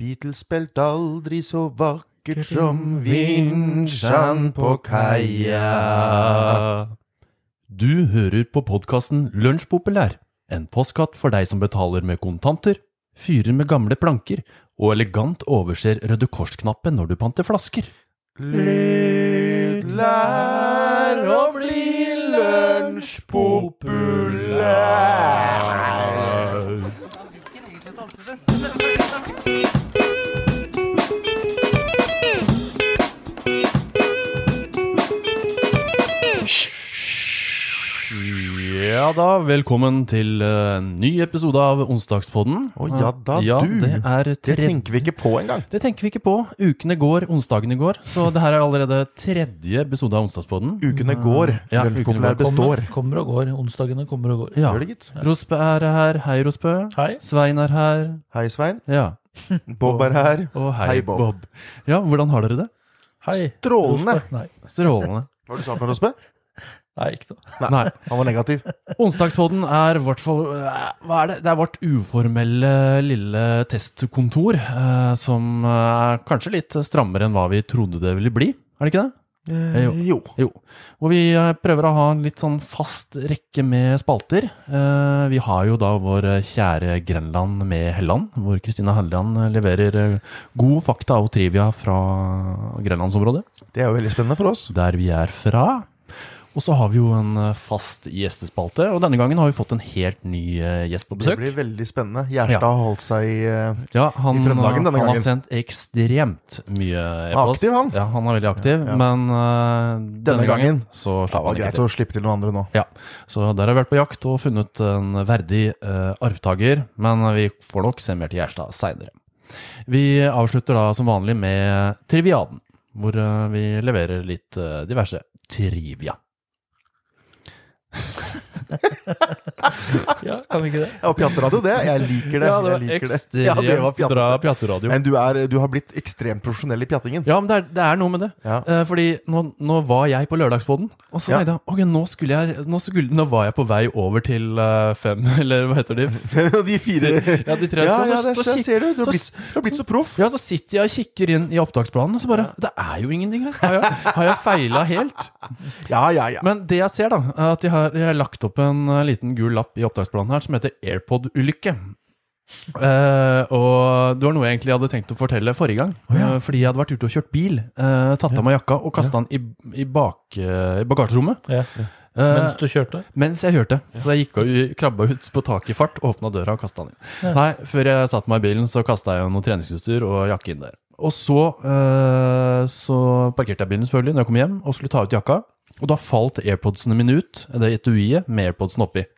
Beatles spilte aldri så vakkert som vinsjan på kaia. Du hører på podkasten Lunsjpopulær, en postkatt for deg som betaler med kontanter, fyrer med gamle planker og elegant overser Røde Kors-knappen når du panter flasker. Lytt, lær og bli lunsjpopulær. Ja da, velkommen til eh, en ny episode av Onsdagspodden. Å ja da, ja, du. Det, er Det tredje- tenker vi ikke på engang. det tenker vi ikke på. Ukene går, onsdagene går. Så det her er allerede tredje episode av Onsdagspodden. Ukene går, Mm. Ja, ukene lunsjpopulær går. består. Kommer og går. Onsdagene kommer og går. Ja. Gjør det, gitt. Rospe er her. Hei, Rospe. Hei. Svein er her. Hei, Svein. Ja. Bob er her. Og hei, Hei, Bob. Bob. Ja, hvordan har dere det? Hei. Strålende. Rosberg. Nei. Strålende. Hva var det du sa for noe, Rospe? Nei, ikke noe. Nei. Han var negativ. Onsdagspodden er hvert fall eh, Hva er det? Det er vårt uformelle lille testkontor, eh, som er kanskje litt strammere enn hva vi trodde det ville bli. Er det ikke det? Eh, Jo. jo. Jo. Og vi eh, prøver å ha en litt sånn fast rekke med spalter. Eh, Vi har jo da vår eh, kjære Grenland med Helland, hvor Kristina Helland eh, leverer eh, god fakta og trivia fra grenlandsområdet. Det er jo veldig spennende for oss. der vi er fra. Og så har vi jo en eh, fast gjestespalte, og denne gangen har vi fått en helt ny eh, gjest på Det besøk. blir veldig spennende. Ja. Gjerstad har holdt seg i eh, Ja, han, i Trøndelagen denne han har gangen. sendt ekstremt mye e-post. Aktiv, han. Ja, han er veldig aktiv, Ja. men eh, denne, Denne gangen, gangen. så Det var slapp han ikke greit til. å slippe til noen andre nå. Ja, så der har vi vært på jakt og funnet en verdig eh, arvtaker, men vi får nok se mer til Gjerstad seinere. Vi avslutter da som vanlig med Triviaden, hvor eh, vi leverer litt eh, diverse trivia. Ja, kan vi ikke det? Ja, og pjatteradio, det. Jeg liker det. Ja, det jeg var liker ekstremt det. Ja, det var pjattete. bra pjatteradio. Men du, er, du har blitt ekstremt profesjonell i pjattingen. Ja, men det er, det er noe med det. Ja. Eh, fordi nå, nå var jeg på Lørdagsboden, og så Ja. tenkte jeg ok, nå, skulle jeg, nå, skulle, nå var jeg på vei over til eh, fem, eller hva heter de? De fire Ja, de tre. Ja, så, ja, så, det så, skjer, kik- ser du. Du har så- blitt, du har blitt så proff. ja, så sitter jeg og kikker inn i opptaksplanen, og så bare Det er jo ingenting her! Har jeg, har jeg feila helt? Ja, ja, ja. Men det jeg ser, da, er at jeg har, jeg har lagt opp en eh, liten gul lapp i opptaksplanen her som heter AirPod-ulykke. Eh, og det var noe jeg egentlig hadde tenkt å fortelle forrige gang. eh, fordi jeg hadde vært ute og kjørt bil. eh, tatt av meg jakka og kasta den i, i, bak, eh, i bagasjerommet Ja. eh, Mens du kjørte? mens jeg kjørte. Så jeg gikk og krabba ut på taket i fart, åpna døra og kasta den inn. Nei, før jeg satte meg i bilen, så kasta jeg jo noe treningsutstyr og jakke inn der. Og så, eh, så parkerte jeg bilen selvfølgelig når jeg kom hjem og skulle ta ut jakka. Og da falt airpodsene mine ut, det etuiet med airpodsene oppi,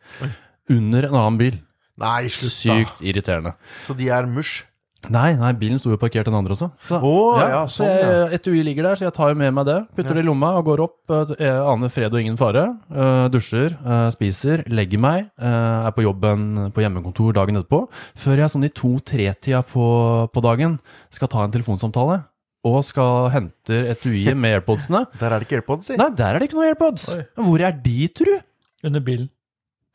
under en annen bil. Nei, slutt, da. Sykt irriterende. Så de er mush. Nei, nei, bilen sto jo parkert den etui også. Så, Å, ja, så sånn, jeg, etui ligger der, så jeg tar jo med meg det. Putter det i lomma og går opp. eh, Aner fred og ingen fare. eh, dusjer, eh, spiser, legger meg. eh, er på jobben på hjemmekontor dagen etterpå. Før jeg sånn i to-tre-tida på, på dagen skal ta en telefonsamtale. Og skal hente etuiet med airpodsene. Der er det ikke airpods, si. Nei, der er det ikke noe airpods! Oi. Hvor er de, tru? Under bilen.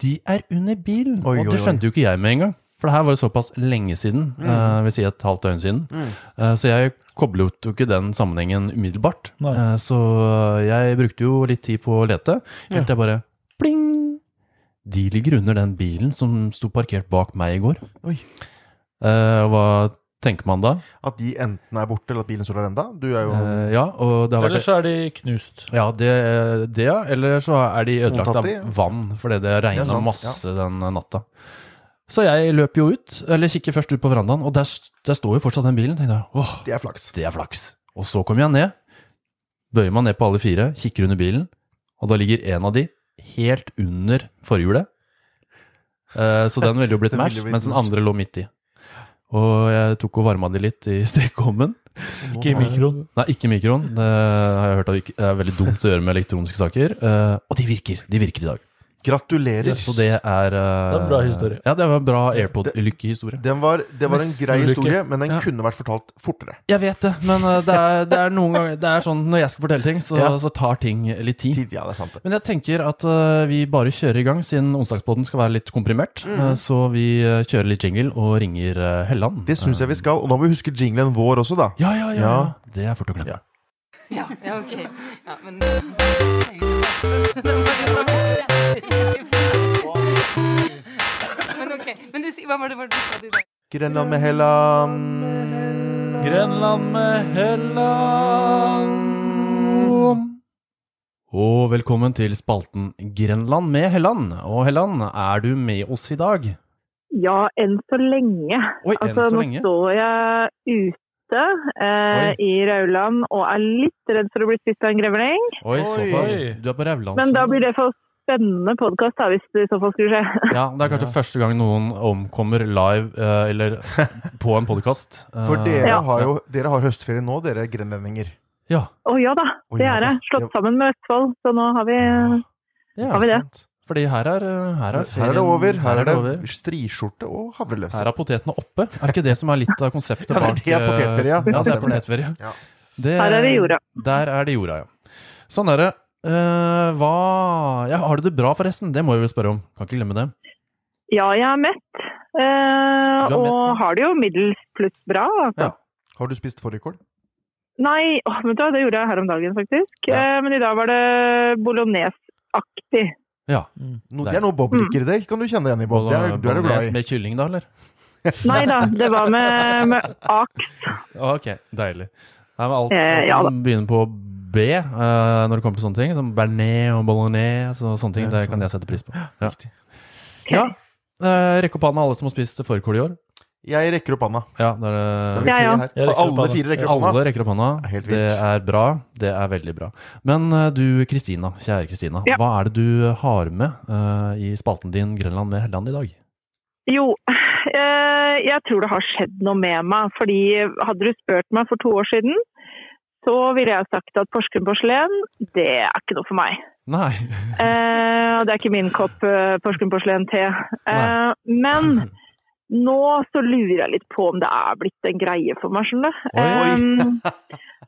De er under bilen. Oi, og det oi, oi. skjønte jo ikke jeg med en gang. For det her var jo såpass lenge siden, eh, vil si et halvt døgn siden. Eh, så jeg koblet jo ikke den sammenhengen umiddelbart. Nei. Eh, så jeg brukte jo litt tid på å lete, helt til jeg bare pling! De ligger under den bilen som sto parkert bak meg i går. Oi. Eh, hva tenker man da? At de enten er borte, eller at bilen står der enda. Du er jo Eh, ja, og det har vært Eller så er de knust. ja, det, det ja. Eller så er de ødelagt Mottatt i, ja. av vann, fordi det Det er regna sant, masse den natta. Så jeg løp jo ut, eller kikker først ut på verandaen, og der, der står jo fortsatt den bilen. tenkte jeg, åh, Det er flaks. det er flaks. Og så kommer jeg ned, bøyer meg ned på alle fire, kikker under bilen, og da ligger en av de helt under forhjulet. Eh, Så den ville jo blitt Den ville mash, blitt mens den mash. andre lå midt i. Og jeg tok og varma de litt i stekeovnen. Ikke i mikroen. Nei, ikke mikroen. Det har jeg hørt at det ikke- er veldig dumt å gjøre med elektroniske saker. Eh, og de virker. De virker i dag. Gratulerer. Så det er eh, Det er en bra historie. Ja, det var en bra AirPod-lykkehistorie. Den var, det var en Nesten grei ulykke. historie, men den Ja. kunne vært fortalt fortere. Jeg vet det, men eh, det er, det er noen ganger Det er sånn når jeg skal fortelle ting, så, Ja. så tar ting litt tid. Tid, ja, det er sant. det. Men jeg tenker at eh, vi bare kjører i gang, siden onsdagsbåten skal være litt komprimert. Eh, så vi eh, kjører litt jingle og ringer eh, Helland. Det syns jeg vi skal. Og nå må vi huske jinglen vår også, da. Ja, ja, ja, ja. Ja. Det er fort å glemme. Ja. Ja, ja ok. Ja, men... Men ok, men du, si- hva var det, hva var det du sa du sa? Grenland med Helland. Grenland med Helland. Og velkommen til spalten Grenland med Helland. Og Helland, er du med oss i dag? Ja, enn så lenge. Oi, Altså, enn så nå lenge. står jeg ute eh, Oi. i Rauland og er litt redd for å bli spist av en grevling. Oi, såpass. Oi. Du er på Rauland. Men da blir det for spennende podkast hvis det i så fall skulle skje. Ja, det er kanskje første gang noen omkommer live eh, eller på en Eh, podkast. For dere har jo dere har høstferie nå, dere grenlendinger. Ja. Å ja da, Å, det ja er da. det. Slått sammen med Østfold, så nå har vi ja. Har vi det? sant. Fordi her er, eh, her er, Her er det over. ferien- Her er over. det striskjorte og havrelefse. Her er potetene oppe. Er det ikke det som er litt av konseptet Ja, det er bak det er potetferie, ja. Ja, eh, Ja, det er stemmer det. potetferie. Ja. Det- Her er det jorda. Der er det jorda, ja. Sånn er det. Eh, hva ja, Har du det bra, forresten? Det må vi vel spørre om. Kan ikke glemme det. Ja, jeg er mett. Eh, Du er mett, og ja. har det jo middels pluss bra. Altså. Ja. Har du spist fårikål? Nei, åh, vet du hva, det gjorde jeg her om dagen faktisk. Ja. Eh, men i dag var det bolognesaktig. No, det er noe Bob Mm. liker, det kan du kjenne igjen i Bob. Det er, du er jo glad i. Med kylling, da, eller? Nei da, det var med, med aks. Ok, deilig. Nei, men alt, Eh, alt ja da. som begynner på B eh, når det kommer til sånne ting, som bearnés og bolognese og sånne ting, sånn. det kan jeg sette pris på. Ja. ja. Eh, Rekk opp hånda alle som har spist fårikål i år. Jeg rekker opp handa. Ja, det Det er er det. vi Ja, tre ja. her. Jeg rekker opp Alle handa. fire rekker opp handa. Alle rekker opp hånda. Det er helt vilt. Det er bra. Det er veldig bra. Men eh, du Kristina, kjære Kristina. Ja. Hva er det du har med eh, i spalten din Grenland med Helland i dag? Jo, eh, jeg tror det har skjedd noe med meg. Fordi hadde du spurt meg for to år siden, så ville jeg sagt at Porsgrunn porselen, det er ikke noe for meg. Nei. Eh, og det er ikke min kopp eh, Porsgrunn porselen-te. Eh, men nå så lurer jeg litt på om det er blitt en greie for meg, skjønner du. Oi, oi. Em,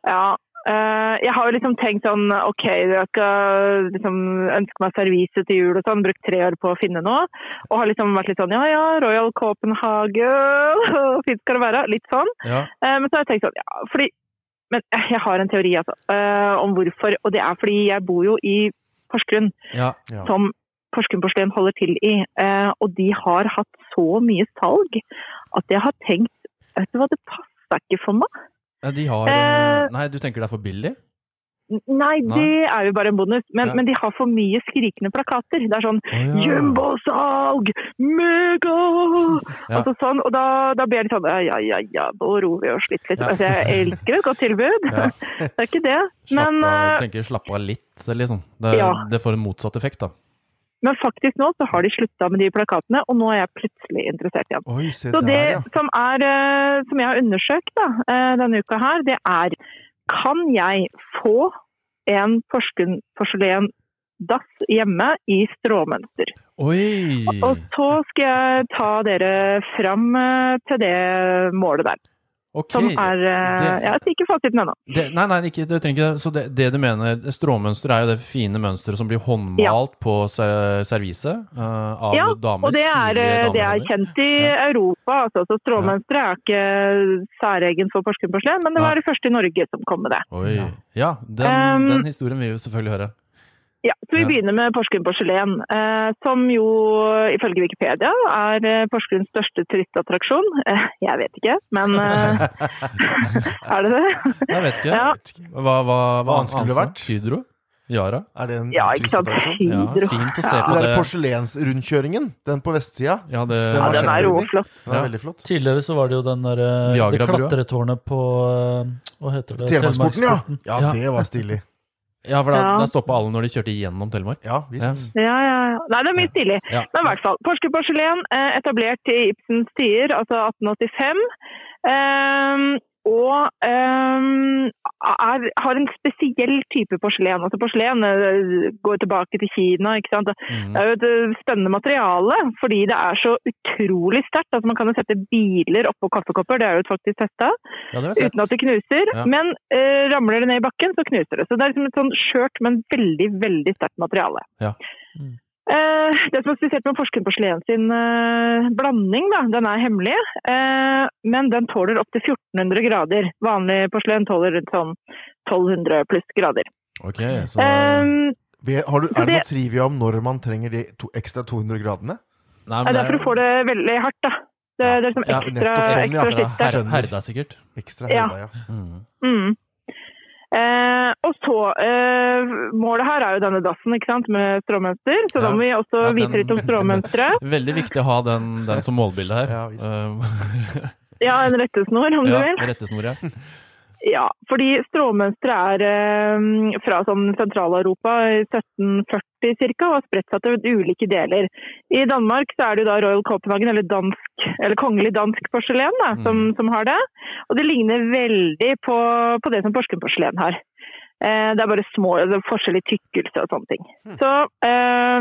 ja. eh, jeg har jo liksom tenkt sånn OK, jeg skal liksom ønske meg servise til jul og sånn. Brukt tre år på å finne noe. Og har liksom vært litt sånn ja ja, Royal Copenhagen, fint skal det være. Litt sånn. Ja. Eh, men så har jeg tenkt sånn, ja, fordi men eh, jeg har en teori altså, eh, om hvorfor, og det er fordi jeg bor jo i Porsgrunn, ja. Ja. som Porsgrunn Porselen holder til i, eh, og de har hatt så mye salg at jeg har tenkt, vet du hva, det passer ikke for meg. Ja, De har Eh. eh, Nei, du tenker det er for billig? N- Nei, Nei. det er jo bare en bonus, men, Ja. men de har for mye skrikende plakater. Det er sånn, Å, ja. Jumbo-salg! Mega! Ja. Altså sånn, og da, da blir jeg litt sånn ja, ja, ja, ja, nå roer vi oss litt. litt. Ja. Altså, jeg elsker et godt tilbud, Ja. det er ikke det. Slapp Men, av, eh, jeg tenker slapp av litt, liksom. Det, Ja. det får en motsatt effekt, da. men faktisk nå så har de slutta med de plakatene, og nå er jeg plutselig interessert igjen. Oi, se Så det der, ja. som, er, eh, som jeg har undersøkt da, eh, denne uka her, det er kan jeg få en Porsgrunn porselen dass hjemme i stråmønster? Oi! Og så skal jeg ta dere fram eh, til det målet der. Ok. Som er eh, Det- Jeg har ikke fasiten ennå. Det, nei, nei, ikke, du trenger ikke det. Så det, det du mener, stråmønster er jo det fine mønsteret som blir håndmalt på ser, serviset eh, av Ja, damer. Og det er, sirlige eh, det er damehender. kjent i Europa, altså. Så stråmønstre er ikke særegent for Porsgrunn porselen, men det var Nei. det første i Norge som kom med det. Oi. Ja. Ja, den, Um, den historien vil vi jo selvfølgelig høre. Ja, så Vi Ja. begynner med Porsgrunn porselen, eh, som jo ifølge Wikipedia er eh, Porsgrunns største turistattraksjon. Eh, jeg vet ikke, men eh, er det det? Jeg vet ikke. Ja. Hva, hva, Hva annet skulle det annet? Hydro? Yara? Er det en Ja, ikke sant. turistattraksjon? Ja, Hydro. fint å se Ja. på Den der det. porselensrundkjøringen, den på vestsida, Ja, det, Den Ja, har den skjedd. er jo flott. den er Ja. veldig flott. Tidligere så var det jo den der, eh, det Viagra-brua. klatretårnet på eh, Hva heter det? Telemarksporten, ja! Telemarksporten. Ja, Ja. det var stilig. ja, for da, Ja. da stoppa alle når de kjørte gjennom Telemark. Ja visst. Ja, ja, ja. Nei, det er mye stilig. Ja. Men i hvert fall. Porsgrunn porselen, eh, etablert i Ibsens tider, altså 1885. Ehm, og ehm, eh, er, har en spesiell type porselen. Altså porselen eh, går tilbake til Kina. ikke sant? Mm. Det er jo et eh, spennende materiale fordi det er så utrolig sterkt. Altså Man kan jo sette biler oppå kaffekopper, det er jo faktisk testa, Ja, det har jeg uten sett. at det knuser. Ja. Men eh, ramler det ned i bakken, så knuser det. Så det er liksom et sånn skjørt, men veldig, veldig sterkt materiale. Ja. Mm. Eh, det som er spesielt med forskeren porselen sin eh, blanding, da, den er hemmelig, eh, men den tåler opptil 1400 grader. Vanlig porselen tåler rundt sånn 1200 pluss grader. Ok, så Eh, Vi- Har du, Så er det noe det- trivia om når man trenger de to, ekstra 200 gradene? Nei, Ja, det er for å få det veldig hardt, da. Det, det er liksom Ja, ekstra, nettopp sånn, ja. ekstra skitt der. skjønner. Herda, sikkert. Ekstra Ja. høyde, ja. Mm. Mm. Eh, og så eh, Målet her er jo denne dassen ikke sant, med stråmønster, så Ja. da må vi også Ja, den- vite litt om stråmønsteret. Veldig viktig å ha den, den som målbilde her. Ja, visst. Eh, Ja, en rettesnor, om ja, du vil. rettesnor, ja. Ja, fordi stråmønsteret er eh, fra sånn Sentral-Europa i 1740 ca. og har spredt seg til ulike deler. I Danmark så er det jo da Royal Copenhagen, eller, dansk, eller kongelig dansk porselen, da, som, som har det. Og det ligner veldig på, på det som Porsgrunn-porselen har. Eh, Det er bare små det er forskjell i tykkelse og sånne ting. Så eh,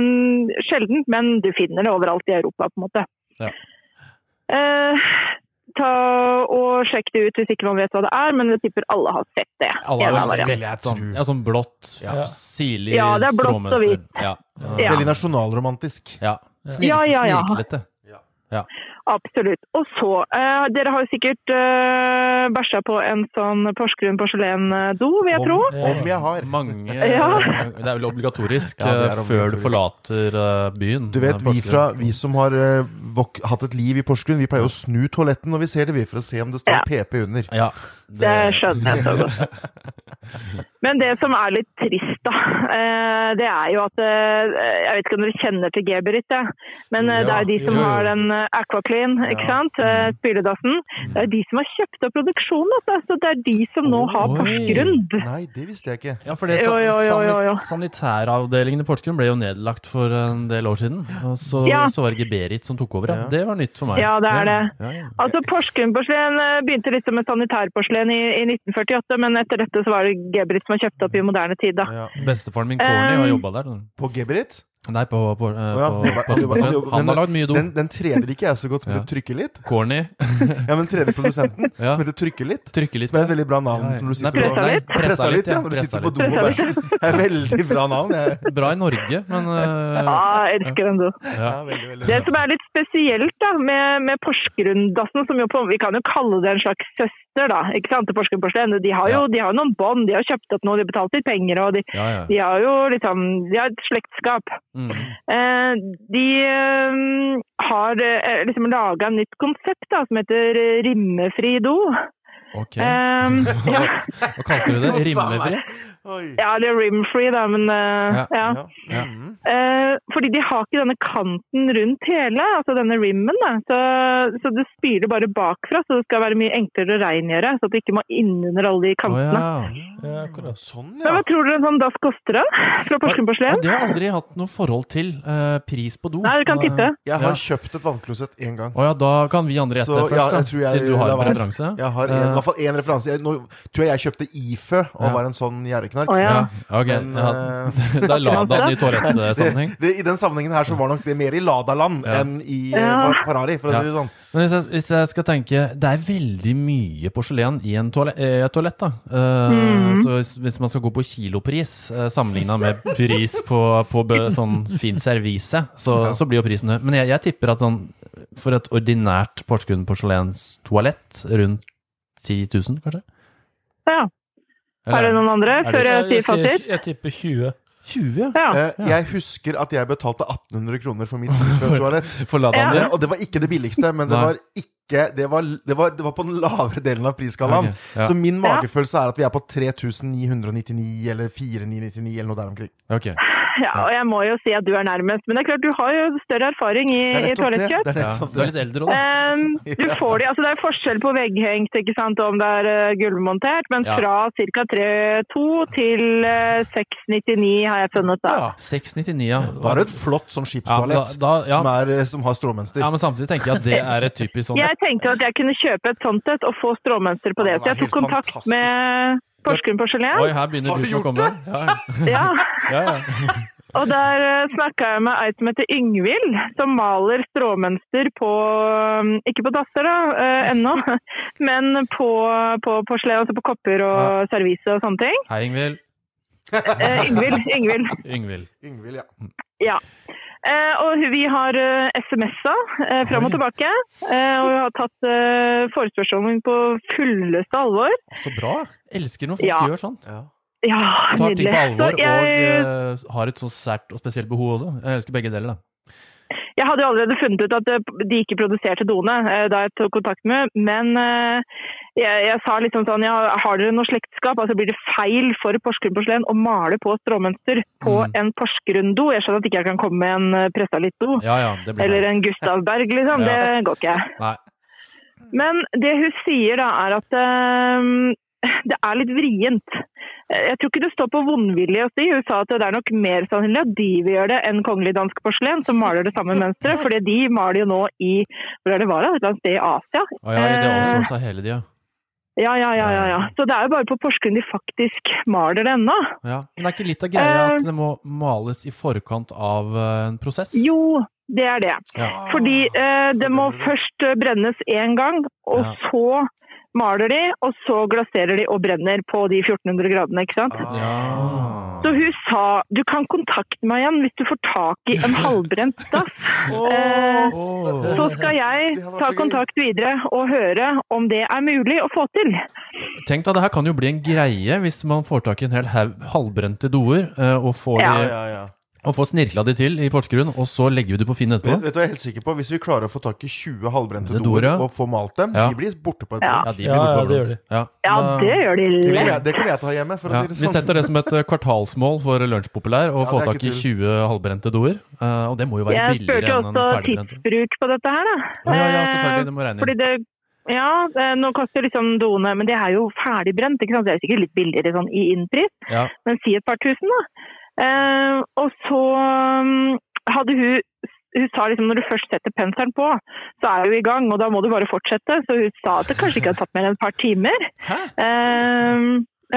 sjeldent, men du finner det overalt i Europa, på en måte. Ja. Eh, ta og Sjekk det ut hvis ikke man vet hva det er, men jeg tipper alle har sett det. Alle En har av vel dem. varianten. sett sånn, ja, sånn blått, Ja. sirlig Ja, det er blått og stråmønster. hvitt. Ja. Ja. Veldig nasjonalromantisk. Ja. Snirk, Ja, ja, ja. Snirklete. Absolutt. Og så, eh, dere har jo sikkert eh, bæsja på en sånn Porsgrunn porselen-do, vil jeg tro. Om, om jeg har. Mange eh, Ja. Det er vel obligatorisk Ja, det er eh, før du obligatorisk. forlater eh, byen. Du vet, eh, vi, Porsgrunn. fra, vi som har eh, vok hatt et liv i Porsgrunn, vi pleier å snu toaletten når vi ser det, vi, for å se om det står Ja. PP under. Ja. Det skjønner jeg så godt. Men det som er litt trist, da, eh, det er jo at eh, Jeg vet ikke om dere kjenner til Geberit, jeg. men eh, det er jo de som Ja, jo, Mm. jo. har den eh, Aquaclean, Ja. ikke sant? eh, Spyledassen. Det er de som har kjøpt opp produksjonen, altså. Så det er de som nå har Oi. Porsgrunn. Nei, det visste jeg ikke. Ja, for det Jo, jo, jo, jo, jo. sanit- Sanitæravdelingen i Porsgrunn ble jo nedlagt for en del år siden. Og så, Ja. så var det Geberit som tok over. Ja. Ja. Det var nytt for meg. Ja, det er det. Ja, ja. Altså Porsgrunn-porselen eh, begynte liksom med sanitærporselen i, i 1948, men etter dette så var det Geberit som har kjøpt opp i moderne tid, da. Ja. Bestefaren min, Corny, har Um, jobba der. På Geberit? Nei, på, på, eh, Å ja, på, det var- på det var- Porsgrunn. det var- Han har lagd mye do. Den, den tredje liker jeg så godt, som Ja. heter Trykke litt. Corny. Ja, men tredje produsenten, Ja. som heter Trykke litt. Trykker litt. Som er et veldig bra navn. Ja, ja. Som du Nei, sitter Pressa og- litt? Pressa litt, ja. Når du Pressa sitter på litt. do og bæsjer. Det er veldig bra navn. Jeg. Bra i Norge, men eh, Ja, Ah, jeg elsker den, du. ja. Ja, veldig, veldig Det bra. som er litt spesielt da, med, med Porsgrunn-dassen, som jo på, vi kan jo kalle det en slags søster da, ikke sant, til Porsgrunn Porsgrunn. De har jo de har jo noen bånd, de har kjøpt opp noe, de har betalt litt penger, og de, ja, ja. de har jo liksom, de har et slektskap. Mm. Eh, de eh, har eh, liksom laget et nytt konsept da, som heter eh, rimmefri do. Ok. Eh, ja, Hva kalte du Å, det? faen meg. Rimefri? Oi. ja, det er rimfree da, men eh, Ja. ja. Ja. Ja. Mm. Eh, fordi de har ikke denne kanten rundt hele, altså denne rimmen. Da. Så, så det spyler bare bakfra, så det skal være mye enklere å rengjøre. Så at det ikke må innunder alle de Å kantene. ja. Ja, akkurat. Sånn, Men ja. hva tror dere en sånn dass koster, da? Fra Porsgrunn Ja, porselen? det har jeg aldri hatt noe forhold til. eh, pris på do. Nei, dere kan titte. Jeg har Ja. kjøpt et vannklosett én gang. Å ja, da kan vi andre gjette Så, først, ja, da, jeg tror jeg siden du har lar en være. referanse. Jeg har en, Eh, i hvert fall én referanse. Jeg, nå tror jeg jeg kjøpte Ifø og Ja. var en sånn gjerreknark. Å ja. ja, ok. Men, ja. eh, Da la den i toalettsammenheng. det, I den sammenhengen her så var nok det mer i Ladaland Ja. enn i eh, Ja. Fer- Ferrari, for å si det sånn. Men hvis jeg, hvis jeg skal tenke Det er veldig mye porselen i en toalett, eh, toalett da. Eh, Mhm. Så hvis, hvis man skal gå på kilopris eh, sammenligna med pris på, på bø, sånn fin servise, så, Ja. så blir jo prisen høy. Men jeg, jeg tipper at sånn for et ordinært Porsgrunn porselenstoalett rundt 10 000, kanskje? Ja. Er det noen andre Er det- før jeg sier Jeg, fasit? jeg, jeg tipper 20. 20? Ja. Eh, Jeg husker at jeg betalte 1800 kroner for mitt Ifø-toalett. For Ladaen Ja. Det- Og det var ikke det billigste, men det Nei. var ikke Det var, det var, det var på den lavere delen av prisskalaen. Ok, ja. Så min magefølelse er at vi er på 3999 eller 4999 eller noe der omkring. Ok. ja, og jeg må jo si at du er nærmest. Men det er klart, du har jo større erfaring i, Det er i nettopp det. toalettkjøp. Det er Ja. nettopp Du er det. litt eldre òg, da. Ehm, du får de, altså Det er forskjell på vegghengt ikke sant, og om det er eh, gulvmontert, men Ja. fra ca. 3,2 til eh, 6,99 har jeg funnet. da. Ja. 699, ja. Da er det et flott sånn ja, da, skipstoalett da, ja. som, er, eh, som har stråmønster. ja, men samtidig tenker jeg at det er et typisk sånn Jeg tenkte at jeg kunne kjøpe et sånt et og få stråmønster på Ja, det. det Så var jeg tok helt kontakt fantastisk. med Porsgrunn porselen. Oi, her begynner Har du rusen gjort å komme. Ja, Ja. ja, ja. Og der snakka jeg med ei som heter Yngvild, som maler stråmønster på um, Ikke på dasser da, eh, ennå, men på, på porselen, altså på kopper og servise og sånne ting. Hei, Ingvild. Eh, Yngvild. Yngvild. Yngvild. Yngvild, ja. Eh, og hun- vi har eh, SMS-a eh, fram og Oi. tilbake. Eh, og vi har tatt eh, forespørselen på fulleste alvor. Så bra. Elsker når folk Ja. gjør sånn. ja. Ja, Tar ting nydelig. på alvor Så jeg, og eh, har et så sært og spesielt behov også. Jeg elsker begge deler, da. jeg hadde jo allerede funnet ut at eh, de ikke produserte doene eh, da jeg tok kontakt med henne, men eh, jeg, jeg sa liksom sånn ja, Har dere noe slektskap? Altså blir det feil for Porsgrunn porselen å male på stråmønster på Mm. en Porsgrunn-do? Jeg skjønner at ikke jeg kan komme med en eh, Prestalitt-do. Ja, ja, det blir Eller en Gustav Berg, liksom. Ja. Det går ikke. Nei. Men det hun sier da, er at ehm, det er litt vrient. Eh, Jeg tror ikke det står på vondvilje hos de. Hun sa at det er nok mer sannsynlig at de vil gjøre det enn Kongelig dansk porselen, som maler det samme mønsteret. fordi de maler jo nå i hvor er det var da? Et eller annet sted i Asia? Å ja, det er Eh. outsourca hele de, ja. Ja, ja, ja. ja, ja. Så det er jo bare på Porsgrunn de faktisk maler det ennå. ja. Men det er ikke litt av greia at det må males i forkant av eh, en prosess? Jo, det er det. Ja. Fordi eh, det må det. først eh, brennes én gang, og Ja. så maler de, og så glaserer de og brenner på de 1400 gradene, ikke sant? Ah. Ja. Så hun sa du kan kontakte meg igjen hvis du får tak i en halvbrent dass. Eh, Åh. Så skal jeg Det hadde vært ta så gøy. kontakt videre og høre om det er mulig å få til. Tenk da, det her kan jo bli en greie hvis man får tak i en hel haug halvbrente doer eh, og får, Ja. Ja, de, ja, ja. og får snirkla de til i Porsgrunn, og så legger vi det på Finn Vet, etterpå. vet du hva jeg er helt sikker på? Hvis vi klarer å få tak i 20 halvbrente Det er doer, doer ja. og få malt dem, Ja. de blir borte på et Ja. punkt. de blir Ja, ja, borte det gjør overalt. Ja, Ja, det gjør de Det kommer lett. jeg, det kommer jeg til å ha hjemme, for å Ja, si det vi sånn. setter det som et eh, kvartalsmål for lunsjpopulær å Ja, få det er tak ikke i tull. 20 halvbrente doer. eh, og det må jo være Jeg spurte billigere enn en også ferdigbrent. tidsbruk på dette her, da. Å ja, ja, Eh, selvfølgelig, det må regne Fordi inn. det, ja, eh, nå koster liksom doene, men det er jo ferdigbrent, ikke sant? Det er sikkert litt billigere sånn i innpris, Ja. men si et par tusen da. Eh, og så mm, hadde hun, hun sa liksom når du først setter penselen på, så er du i gang, og da må du bare fortsette. Så hun sa at det kanskje ikke hadde tatt mer enn et par timer. Eh,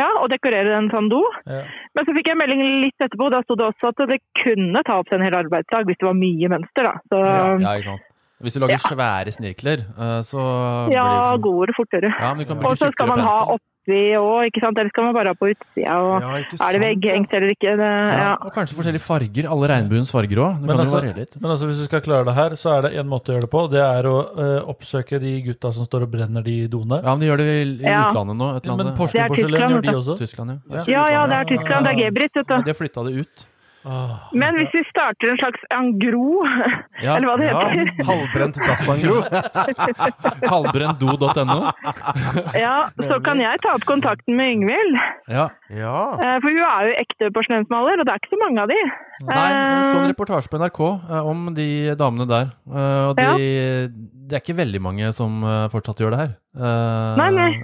ja, og dekorere en sånn do. Ja. Men så fikk jeg melding litt etterpå, da stod det også at det kunne ta opp til en hel arbeidsdag hvis det var mye mønster da. Så ja, ja, ikke sant. Hvis du lager svære snirkler, eh, så blir ja det jo sånn. går det fortere. Ja, men du kan Og bruke Og så skal man ha pensel. oppi òg, ikke sant? Eller skal man bare ha på utsida? Og Ja, ikke er det sant, vegghengt eller ikke? Det, Ja, ja. og kanskje forskjellige farger. Alle regnbuens farger òg. Det Men kan altså- jo variere litt. Men altså, hvis du skal klare det her, så er det én måte å gjøre det på. Det er å eh, oppsøke de gutta som står og brenner de doene. Ja, men de gjør det i, i Ja. utlandet nå. Et eller Men annet. Det er Porsgrunn porselen Tyskland, gjør de vet også. Tyskland, Ja, ja. ja, ja, det er Ja, Tyskland. Det er Gebrit, vet Men du. det flytta det ut. Ah. Men hvis vi starter en slags angro, Ja, eller hva det Ja, heter halvbrent dassangro. Halvbrenndo.no. Ja, så kan jeg ta opp kontakten med Yngvild. Ja. Ja. Eh, For hun er jo ekte porsjonensmaler, og det er ikke så mange av de. Nei, en sånn Eh, reportasje på NRK eh, om de damene der. Eh, Og de, det er ikke veldig mange som eh, fortsatt gjør det her. Eh, Nei, nei.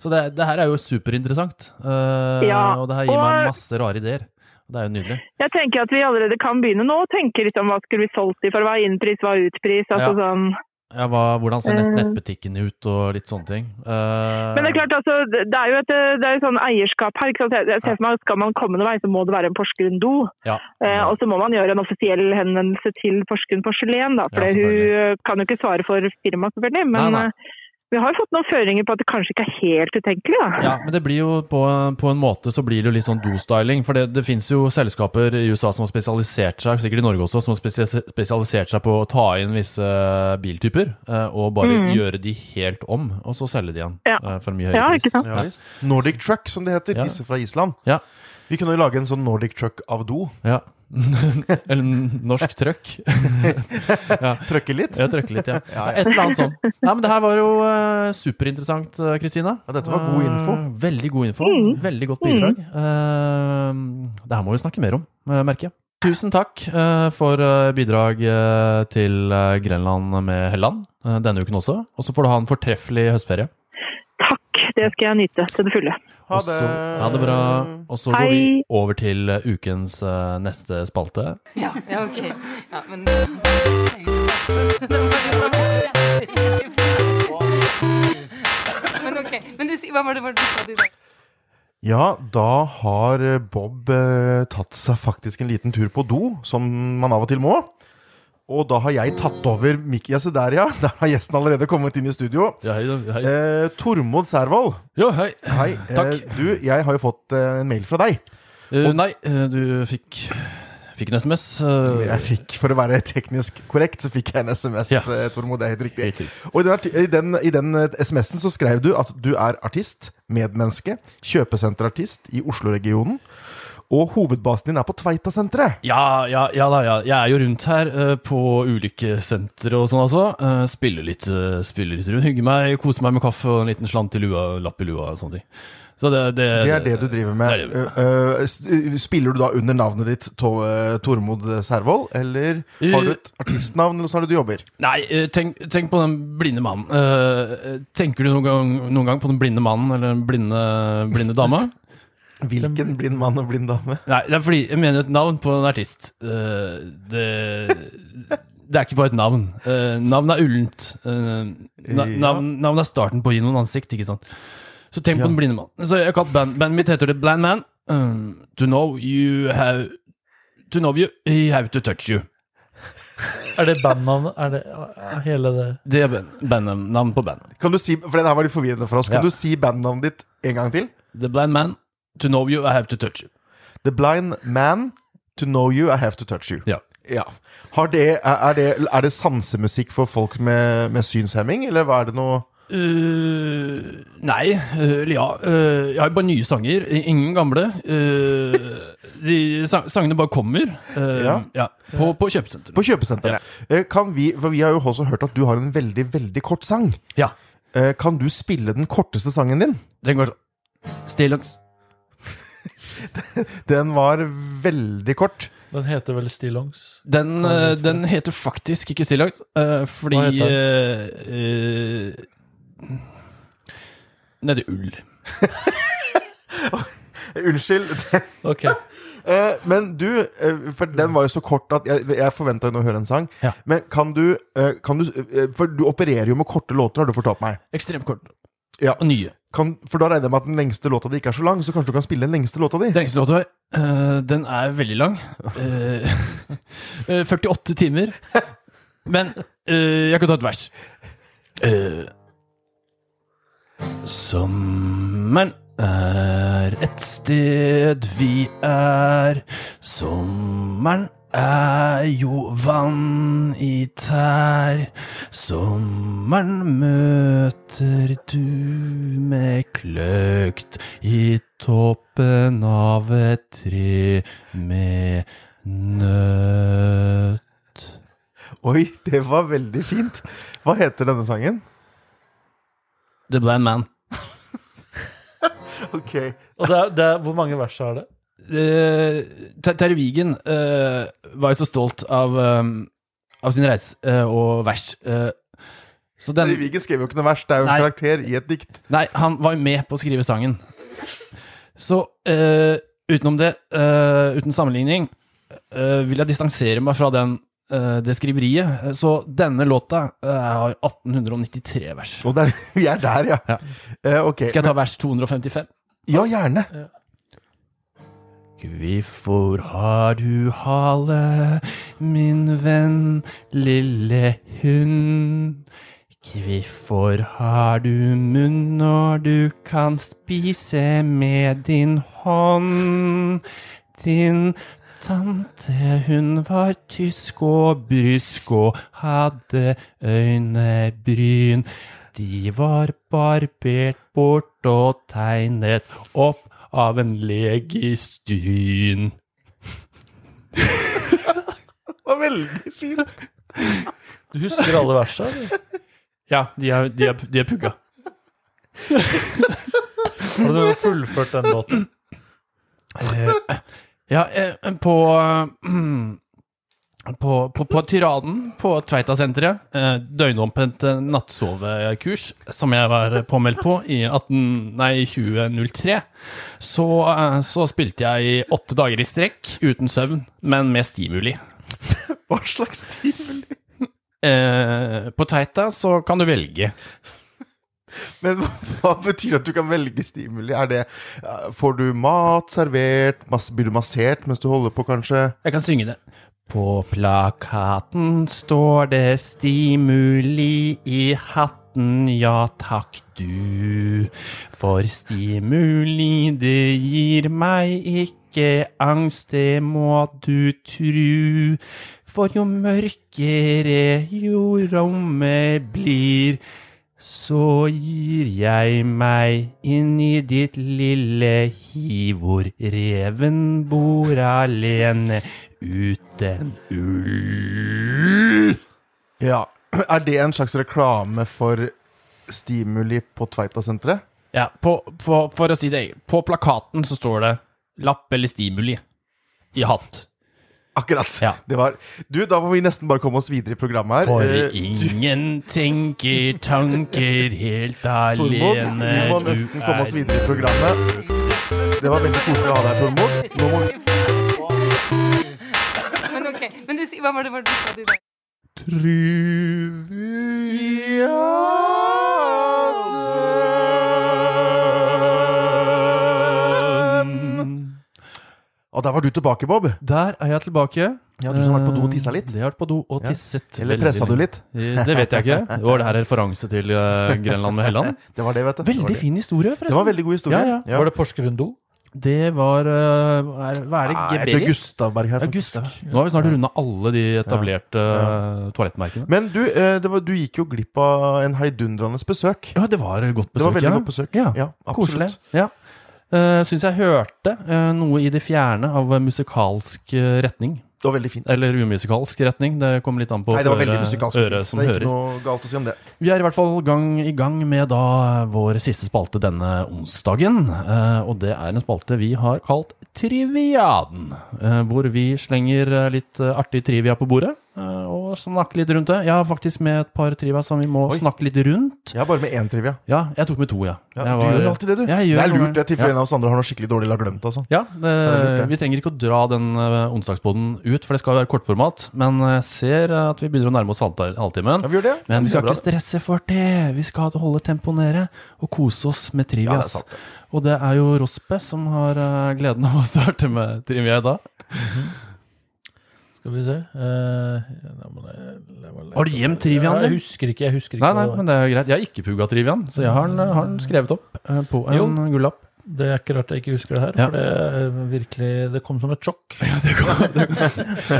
Så det, det her er jo superinteressant. Eh, Ja, Og det her gir og- meg masse rare ideer. Det er jo nydelig. Jeg tenker at vi allerede kan begynne nå å tenke litt om hva skulle vi solgt i for hva er innpris, hva er utpris, Ja. altså sånn. Ja, hva, hvordan ser nett, Eh. nettbutikken ut, og litt sånne ting. Eh, Men det er klart, altså, det er jo et eh, det er jo sånn eierskap her. Ikke sant? Jeg- Jeg ser for meg at Skal man komme noen vei, så må det være en Porsgrunn do. ja. Eh, og så må man gjøre en offisiell henvendelse til Porsgrunn porselen. Da, for Ja, hun selvfølgelig. eh, kan jo ikke svare for firmaet, selvfølgelig. Men Nei, nei. eh, vi har jo fått noen føringer på at det kanskje ikke er helt utenkelig. Da. Ja, men det blir jo på, på en måte så blir det jo litt sånn do-styling. For det, det fins jo selskaper i USA som har spesialisert seg, sikkert i Norge også, som har spesia- spesialisert seg på å ta inn visse biltyper eh, og bare Mm. gjøre de helt om, og så selge de igjen Ja. eh, for en mye høyere Ja, ikke pris. sant? Ja, visst. Nordic Truck, som det heter. Ja. Disse fra Island. Ja. Vi kunne jo lage en sånn Nordic Truck av do. Ja. Eller n- norsk trøkk. Trøkke litt. Jeg trøkker litt, ja. Ja, ja. Et eller annet sånn. Nei, men det her var jo eh, superinteressant, eh, Kristina. Ja, dette var god Eh, info. veldig god info. Veldig godt bidrag. Eh, det her må vi snakke mer om, eh, merker jeg. Tusen takk eh, for eh, bidrag eh, til eh, Grenland med Helland eh, denne uken også. Og så får du ha en fortreffelig høstferie. Takk, det skal jeg nyte til det fulle. Ha Og det. så- Ha det bra. Og så går Hei. vi over til eh, ukens eh, neste spalte. Ja, ja, ok. Ja, men Men ok. Men du, si- hva var det, hva var det du sa til deg? Ja, da har eh, Bob eh, tatt seg faktisk en liten tur på do, som man av og til må. Og da har jeg tatt over mik Ja, se der, ja. Der har gjesten allerede kommet inn i studio. Ja, hei, da, hei. Eh, Tormod Servold. Ja, hei. Hei. Takk. Eh, du, jeg har jo fått eh, en mail fra deg. Eh, nei, eh, du fikk Fikk en SMS. eh, Jeg fikk, For å være teknisk korrekt, så fikk jeg en SMS, Ja. eh, Tormod. Det er helt riktig. Helt riktig. Og i den, arti- i den, i den eh, SMS-en så skrev du at du er artist, medmenneske, kjøpesenterartist i Oslo-regionen. Og hovedbasen din er på Tveita-senteret. Ja, ja, ja da, ja. Jeg er jo rundt her eh, på ulike sentre og sånn, altså. Eh, spiller, litt, eh, spiller litt rundt, hygger meg, koser meg med kaffe og en liten slant i lua, lapp i lua og sånne ting. Så det, det, Det er det du driver det er med. det jeg Eh, eh, s- eh, Spiller du da under navnet ditt To- eh, Tormod Servold, eller har du et Eh. artistnavn, eller sånn er det du jobber? Nei, eh, tenk, tenk på den blinde mannen. Eh, eh, Tenker du noen gang, noen gang på den blinde mannen eller den blinde, blinde dama? Hvilken blind mann og blind dame? Nei, det er fordi jeg mener et navn på en artist. Eh, Det, det er ikke bare et navn. Eh, Navn er ullent. Eh, na- Ja. Navn, navn er starten på å gi noen ansikt, ikke sant. Så tenk Ja. på den blinde mann. Så jeg har kalt band, bandet mitt heter The Blind Man. Um, to know you have To know you, he have to touch you. Ah. Er det bandnavnet? Er det er hele det Det er band- bandnavn navn på bandet. Kan du si, for det her var litt forvirrende for oss. Kan Ja. du si bandnavnet ditt en gang til? The Blind Man. To know you, I have to touch you. The blind man, to know you, I have to touch you. Ja. Har det, er, er det, er det sansemusikk for folk med, med synshemming, eller hva er det noe Eh, nei, eh, eller ja. eh, jeg har jo bare nye sanger. i- Ingen gamle. Eh, de sang sangene bare kommer. eh, Ja. ja. på, på kjøpesenteret. På kjøpesenteret. Eh, Kan vi, for vi har jo også hørt at du har en veldig, veldig kort sang. Ja. Eh, Kan du spille den korteste sangen din? Den går sånn. Stillongs. Den var veldig kort. Den heter vel stillongs? Den, eh, den heter faktisk ikke stillongs, eh, Hva fordi heter eh, eh, Den heter ull. Eh, Unnskyld. Ok. Eh, Men du, eh, for den var jo så kort at jeg, jeg forventa å høre en sang. Ja. Men kan du, eh, kan du eh, For du opererer jo med korte låter, har du fortalt meg. Ekstremt kort. Ja. Og nye. Kan, for da regner jeg med at den lengste låta di ikke er så lang, så kanskje du kan spille den lengste låta di? Den lengste låta eh, Den er veldig lang. Eh, eh, 48 timer. Men eh, jeg kan ta et vers. Eh, sommeren er et sted vi er. Sommeren er jo vann i tær. Sommeren møter du med kløkt i toppen av et tre med nøtt. Oi, det var veldig fint. Hva heter denne sangen? The Blind Man. Ok, Og det er, det er, hvor mange vers er det? Eh, Ter- Terje Wigen eh, var jo så stolt av, eh, av sin reise eh, og vers. eh, så Terje den Wigen skrev jo ikke noe vers, det er jo en Nei. karakter i et dikt. Nei, han var jo med på å skrive sangen. Så eh, utenom det, eh, uten sammenligning, eh, vil jeg distansere meg fra den, eh, det skriveriet. Så denne låta eh, har 1893 vers. Og der, vi er der, ja. Ja. Eh, ok, Skal jeg ta vers 255? men- ja, gjerne. Hvorfor har du hale, min venn, lille hund? Hvorfor har du munn når du kan spise med din hånd? Din tante, hun var tysk og brysk og hadde øynebryn. De var barbert bort og tegnet opp av en legistyn. Det var veldig fint. Du husker alle versa? eller? Ja, de er, de er, de er pugga. Har du fullført den låten? Eh, Ja, eh, på eh, på, på, på tiraden på Tveita-senteret, eh, døgnåpent eh, nattsovekurs, som jeg var påmeldt på i 18, nei, 2003, så, eh, så spilte jeg i åtte dager i strekk uten søvn, men med stimuli. Hva slags stimuli? Eh, på Tveita så kan du velge. Men hva, hva betyr at du kan velge stimuli? Er det, eh, får du mat servert? Masse, blir du massert mens du holder på, kanskje? Jeg kan synge det. På plakaten står det stimuli i hatten, ja takk du. For stimuli, det gir meg ikke angst, det må du tru. For jo mørkere jo rommet blir, så gir jeg meg inn i ditt lille hi hvor reven bor alene uten ull. Ja. Er det en slags reklame for stimuli på Tveita-senteret? Ja, på, på, for å si det, på plakaten så står det lapp eller stimuli i hatt. Akkurat. Ja. Det var Du, da må vi nesten bare komme oss videre i programmet her. For Eh, du- ingen tenker tanker helt Tormod, alene. vi må eh, du nesten komme oss er- videre i programmet. Det var veldig koselig å ha deg, Tormod. Nå må vi Men ok, men du, si- hva var det, hva var det du sa til deg? Triviaden. Og der var du tilbake, Bob. Der er jeg tilbake. Ja, Du som har vært på do og tissa litt? Eh, Det har vært på do og Ja. tisset. Eller veldig pressa du lenge. litt? Eh, Det vet jeg ikke. Det var det her referanse til eh, Grenland med Helland. Det var det, vet du. Det var Veldig det. fin historie, forresten. Det var en veldig god historie. Ja, ja. Var det Porsgrunn do? Det var eh, hva er- Hva er det? Nei, det er Geberi? Gustavberg her, Ja, faktisk. Gustav. Nå har vi snart runda alle de etablerte Ja. eh, toalettmerkene. Men du, eh, det var, du gikk jo glipp av en heidundrende besøk. Ja, det var godt besøk. Det var veldig ja. godt besøk. Ja, Ja, Koselig. absolutt. Ja. Uh, Syns jeg hørte eh, noe i det fjerne av musikalsk eh, retning. Det var veldig fint. Eller umusikalsk retning. Det kommer litt an på Nei, det var øre- veldig musikalsk. og fint, øret så som det er hører. ikke noe galt å si om det. Vi er i hvert fall gang, i gang med da vår siste spalte denne onsdagen. eh, Og det er en spalte vi har kalt Triviaden. eh, Hvor vi slenger eh, litt eh, artig trivia på bordet eh, og snakker litt rundt det. Jeg har faktisk med et par trivia som vi må Oi. snakke litt rundt. Jeg har bare med én trivia. Ja, jeg tok med to, ja. Ja, Jeg du var- gjør alltid det, du. Jeg gjør det er noe lurt med- det, til Ja. en av oss andre har noe skikkelig dårlig eller har glemt. Altså. Ja, er det det, lurt, det. vi trenger ikke å dra den eh, onsdagspodden ut, for det skal være kortformat. Men jeg ser eh, at vi begynner å nærme oss halvta- halvtimen. Ja, vi gjør det. Ja, Men det vi er skal bra, ikke stresse for det. Vi skal holde tempoet nede og kose oss med Ja, det er trivias. sant. det. og det er jo Rospe som har eh, gleden av å starte med trivia i dag. Skal vi se Eh, nei, men jeg- jeg må lete. Har du gjemt triviaen, Ja, du? Jeg husker ikke. jeg husker ikke Nei, hva nei, det var. men det er jo greit. Jeg har ikke pugga triviaen, så jeg har den, har den skrevet opp eh, på en gullapp. Det er ikke rart jeg ikke husker det her, Ja. for det, er eh, virkelig, det kom som et sjokk.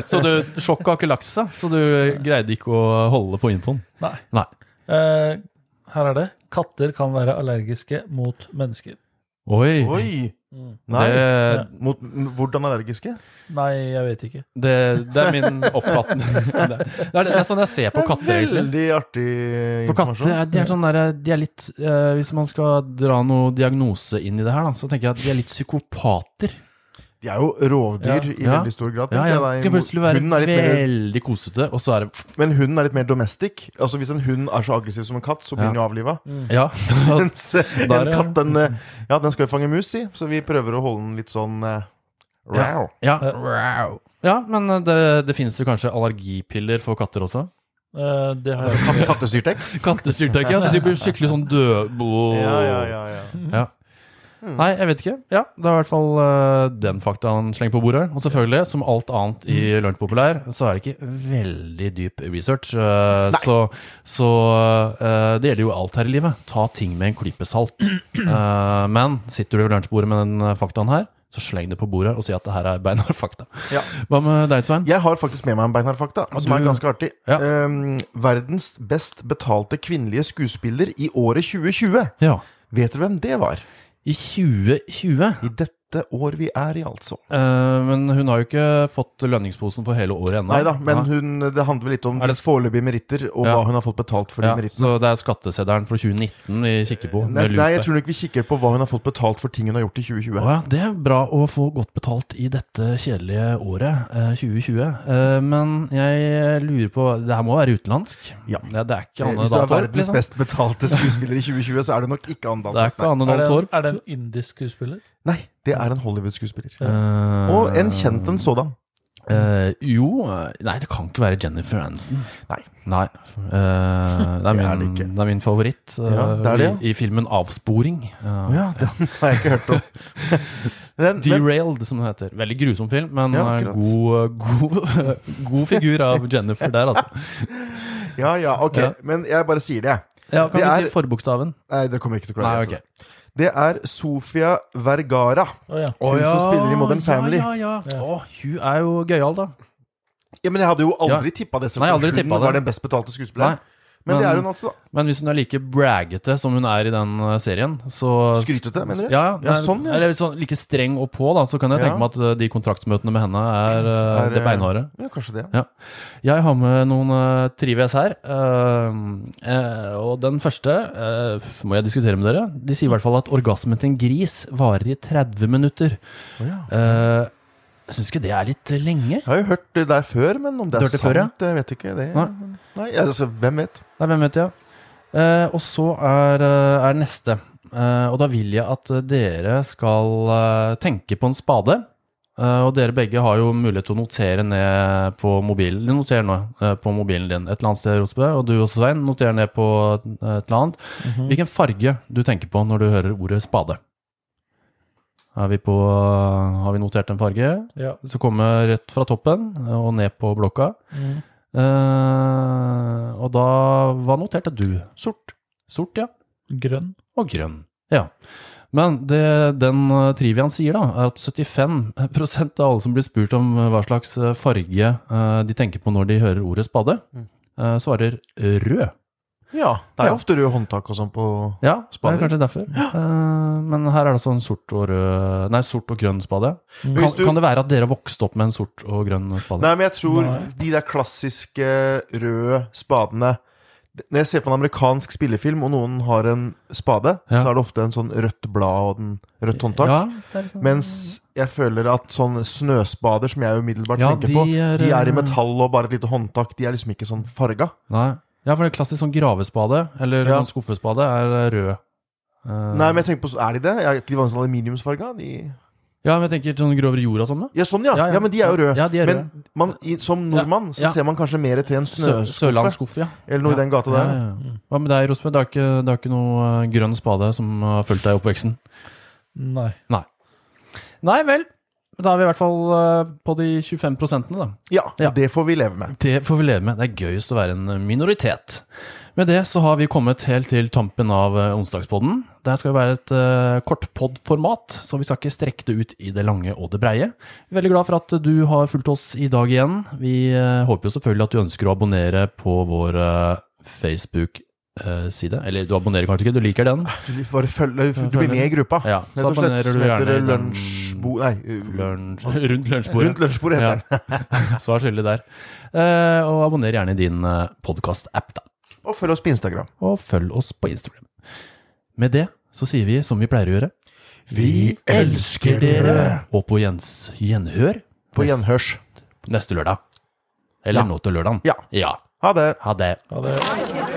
Så du, sjokket har ikke lagt seg, så du greide ikke å holde på infoen. Nei. Nei. Eh, her er det. Katter kan være allergiske mot mennesker. Oi. Oi! Mm. Nei. Det, Mot, m- hvordan allergiske? Nei, jeg vet ikke. det, det er min oppfatning. Det er, det er sånn jeg ser på katter, egentlig. Veldig artig For katter informasjon. er, de er, sånn der, de er litt eh, Hvis man skal dra noe diagnose inn i det her, da, så tenker jeg at de er litt psykopater. De er jo rovdyr i Ja. veldig stor grad. Ja, tenker ja. jeg. De kan plutselig være Hunden er litt mer, veldig kosete, og så er det men hunden er litt mer domestic. Altså, hvis en hund er så aggressiv som en katt, så blir Ja. den jo avliva. Ja. Mens en Der, ja. katt, den, eh, ja, den skal jo fange mus, si. Så vi prøver å holde den litt sånn eh, Wow. ja. ja men det, det finnes jo kanskje allergipiller for katter også? Eh, det har jeg Katt- Kattestyrtek. Kattestyrtrekk, ja. Så de blir skikkelig sånn dødbo... Ja, ja, ja, ja. Ja. Mm. Nei, jeg vet ikke. Ja, Det er i hvert fall eh, den faktaen slengt på bordet. Og selvfølgelig, som alt annet i Mm. Lunsj Populær, så er det ikke veldig dyp research. eh, så så eh, det gjelder jo alt her i livet. Ta ting med en klype salt. Eh, men sitter du ved lunsjbordet med den eh, faktaen her, så sleng det på bordet og si at det her er beinhard fakta. Ja. Hva med deg, Svein? Jeg har faktisk med meg en beinhardfakta, som du- er ganske artig. Ja. Ehm, verdens best betalte kvinnelige skuespiller i året 2020. Ja. Vet dere hvem det var? I 2020 I dette år vi er i, altså. eh, Men hun har jo ikke fått lønningsposen for hele året ennå. Nei da, men hun, det handler vel litt om Er det- dens foreløpige meritter, og Ja. hva hun har fått betalt for ja, de merittene. Så det er skatteseddelen for 2019 vi kikker på? Nei, med nei, jeg lupe. tror nok vi kikker på hva hun har fått betalt for ting hun har gjort i 2020. Å ja, det er bra å få godt betalt i dette kjedelige året, eh, 2020. Eh, men jeg lurer på Det her må være utenlandsk? Ja. Det, det er ikke Eh, Anne Hvis du Dahl er Torp, verdens liksom? best betalte skuespiller i 2020, så er det nok ikke Anne Dahl Det er ikke Torp. Anne er, Dahl det en, Torp. er det en indisk skuespiller? Nei. nei, det er en Hollywood-skuespiller. Eh, Og en kjent en sådan. Eh, jo eh, Nei, det kan ikke være Jennifer Aniston. Nei. Nei. Eh, det, er Det min, er det, det ikke. er min favoritt eh, Ja, det er det, i, i filmen 'Avsporing'. Eh, Ja, den har jeg ikke hørt om. Men, men, Derailed, som den heter. Veldig grusom film, men Ja, eh, akkurat. god, god, god figur av Jennifer der, altså. ja, ja, ok. Ja. Men jeg bare sier det. Ja, kan Det vi er- si forbokstaven? Nei, dere kommer ikke til å klare å Nei, ok. gjette det. Det er Sofia Vergara. Å ja. Hun som spiller i Modern Family. Ja, ja, ja. Å, hun er jo gøyal, da. Ja, men jeg hadde jo aldri tippa det, selv Nei, om aldri hun tippet det. var den best betalte Nei. skuespilleren. Men det er hun altså. Men hvis hun er like braggete som hun er i den eh, serien, så Skrytete, mener du? Ja, Ja, nei, sånn, ja. Eller sånn, like streng og på, da, så kan jeg Ja. tenke meg at eh, de kontraktsmøtene med henne er, eh, Er, det eh, beinharde. Ja, kanskje det. Jeg har med noen uh, trives her. eh, eh, og den første eh, f- må jeg diskutere med dere. De sier i hvert fall at orgasmen til en gris varer i 30 minutter. Å, ja. Eh, jeg syns ikke det er litt lenge. Jeg har jo hørt det der før, men om det er Du hørte det sant, før, ja? jeg vet ikke. Det. Nei. Nei, altså, hvem vet? Nei, hvem vet jeg. Eh, og så er, eh, er neste. Eh, og da vil jeg at dere skal eh, tenke på en spade. Eh, og dere begge har jo mulighet til å notere ned på mobilen. Noter nå eh, på mobilen din et eller annet sted, Rosbø. Og du også, Svein. Noter ned på et eller annet. Hvilken farge du tenker på når du hører ordet spade. Er vi på, eh, har vi notert en farge? ja. Så kommer rett fra toppen eh, og ned på blokka. Mhm. Eh, og da Hva noterte du? Sort. Sort, ja. Grønn. Og grønn. Ja. Men det den eh, triviaen sier, da, er at 75 av alle som blir spurt om eh, hva slags eh, farge eh, de tenker på når de hører ordet spade, Mm. eh, svarer rød. Ja, Det er Ja. jo ofte røde håndtak og sånn på Ja, Spader. det er kanskje derfor. Eh, men her er det altså en sort og rød Nei, sort og grønn spade. Mm. Kan, Hvis du- kan det være at dere vokste opp med en sort og grønn spade? Nei, men jeg tror Nei. de der klassiske røde spadene Når jeg ser på en amerikansk spillefilm, og noen har en spade, Ja. så er det ofte en sånn rødt blad og den rødt håndtak. Ja, det er litt sånn- Mens jeg føler at sånne snøspader, som jeg umiddelbart Ja, tenker de på, er, de er i eh, metall og bare et lite håndtak. De er liksom ikke sånn farga. Nei. Ja, for det er klassisk sånn gravespade, eller Ja. sånn skuffespade, er rød. Eh, Nei, men jeg tenker på, Er de det? Er ikke de vanligvis aluminiumsfarga? De... Ja, men jeg tenker sånn grov jord og sånn, da. Ja, sånn, ja. ja. Men de er jo røde. Ja, de er røde. Men man, i, som nordmann så Ja. ser man kanskje mer til en Sø- snøskuffe Sørlandsskuff, ja. eller noe i den gata Ja, der. ja, ja. Hva med deg, Rosbø? Det er ikke, det er ikke noe eh, grønn spade som har fulgt deg i oppveksten? Nei. Nei vel. Da er vi i hvert fall eh, på de 25 prosentene, da. Ja, Ja. det får vi leve med. Det får vi leve med. Det er gøyest å være en minoritet. Med det så har vi kommet helt til tampen av eh, onsdagspodden. Det her skal jo være et eh, kort poddformat, så vi skal ikke strekke det ut i det lange og det breie. Vi er Veldig glad for at du har fulgt oss i dag igjen. Vi eh, håper jo selvfølgelig at du ønsker å abonnere på vår eh, Facebook-side. Eller du abonnerer kanskje ikke, du liker den. Du, bare følger, du blir med i gruppa. Ja, Ah, Rett og slett. Som i heter den lunsjbo... Nei, uh, lunsj- rundt lunsjbordet. rundt lunsjbordet heter den. Ja. Svar skyldig der. Eh, og abonner gjerne i din eh, podcast-app, da. Og følg oss på Instagram. og følg oss på Instagram. Med det så sier vi som vi pleier å gjøre. Vi elsker dere! Og på gjens, gjenhør På gjenhørs. neste lørdag. Eller Ja. nå til lørdagen. Ja. ja. Ha det! Ha det. Ja, det...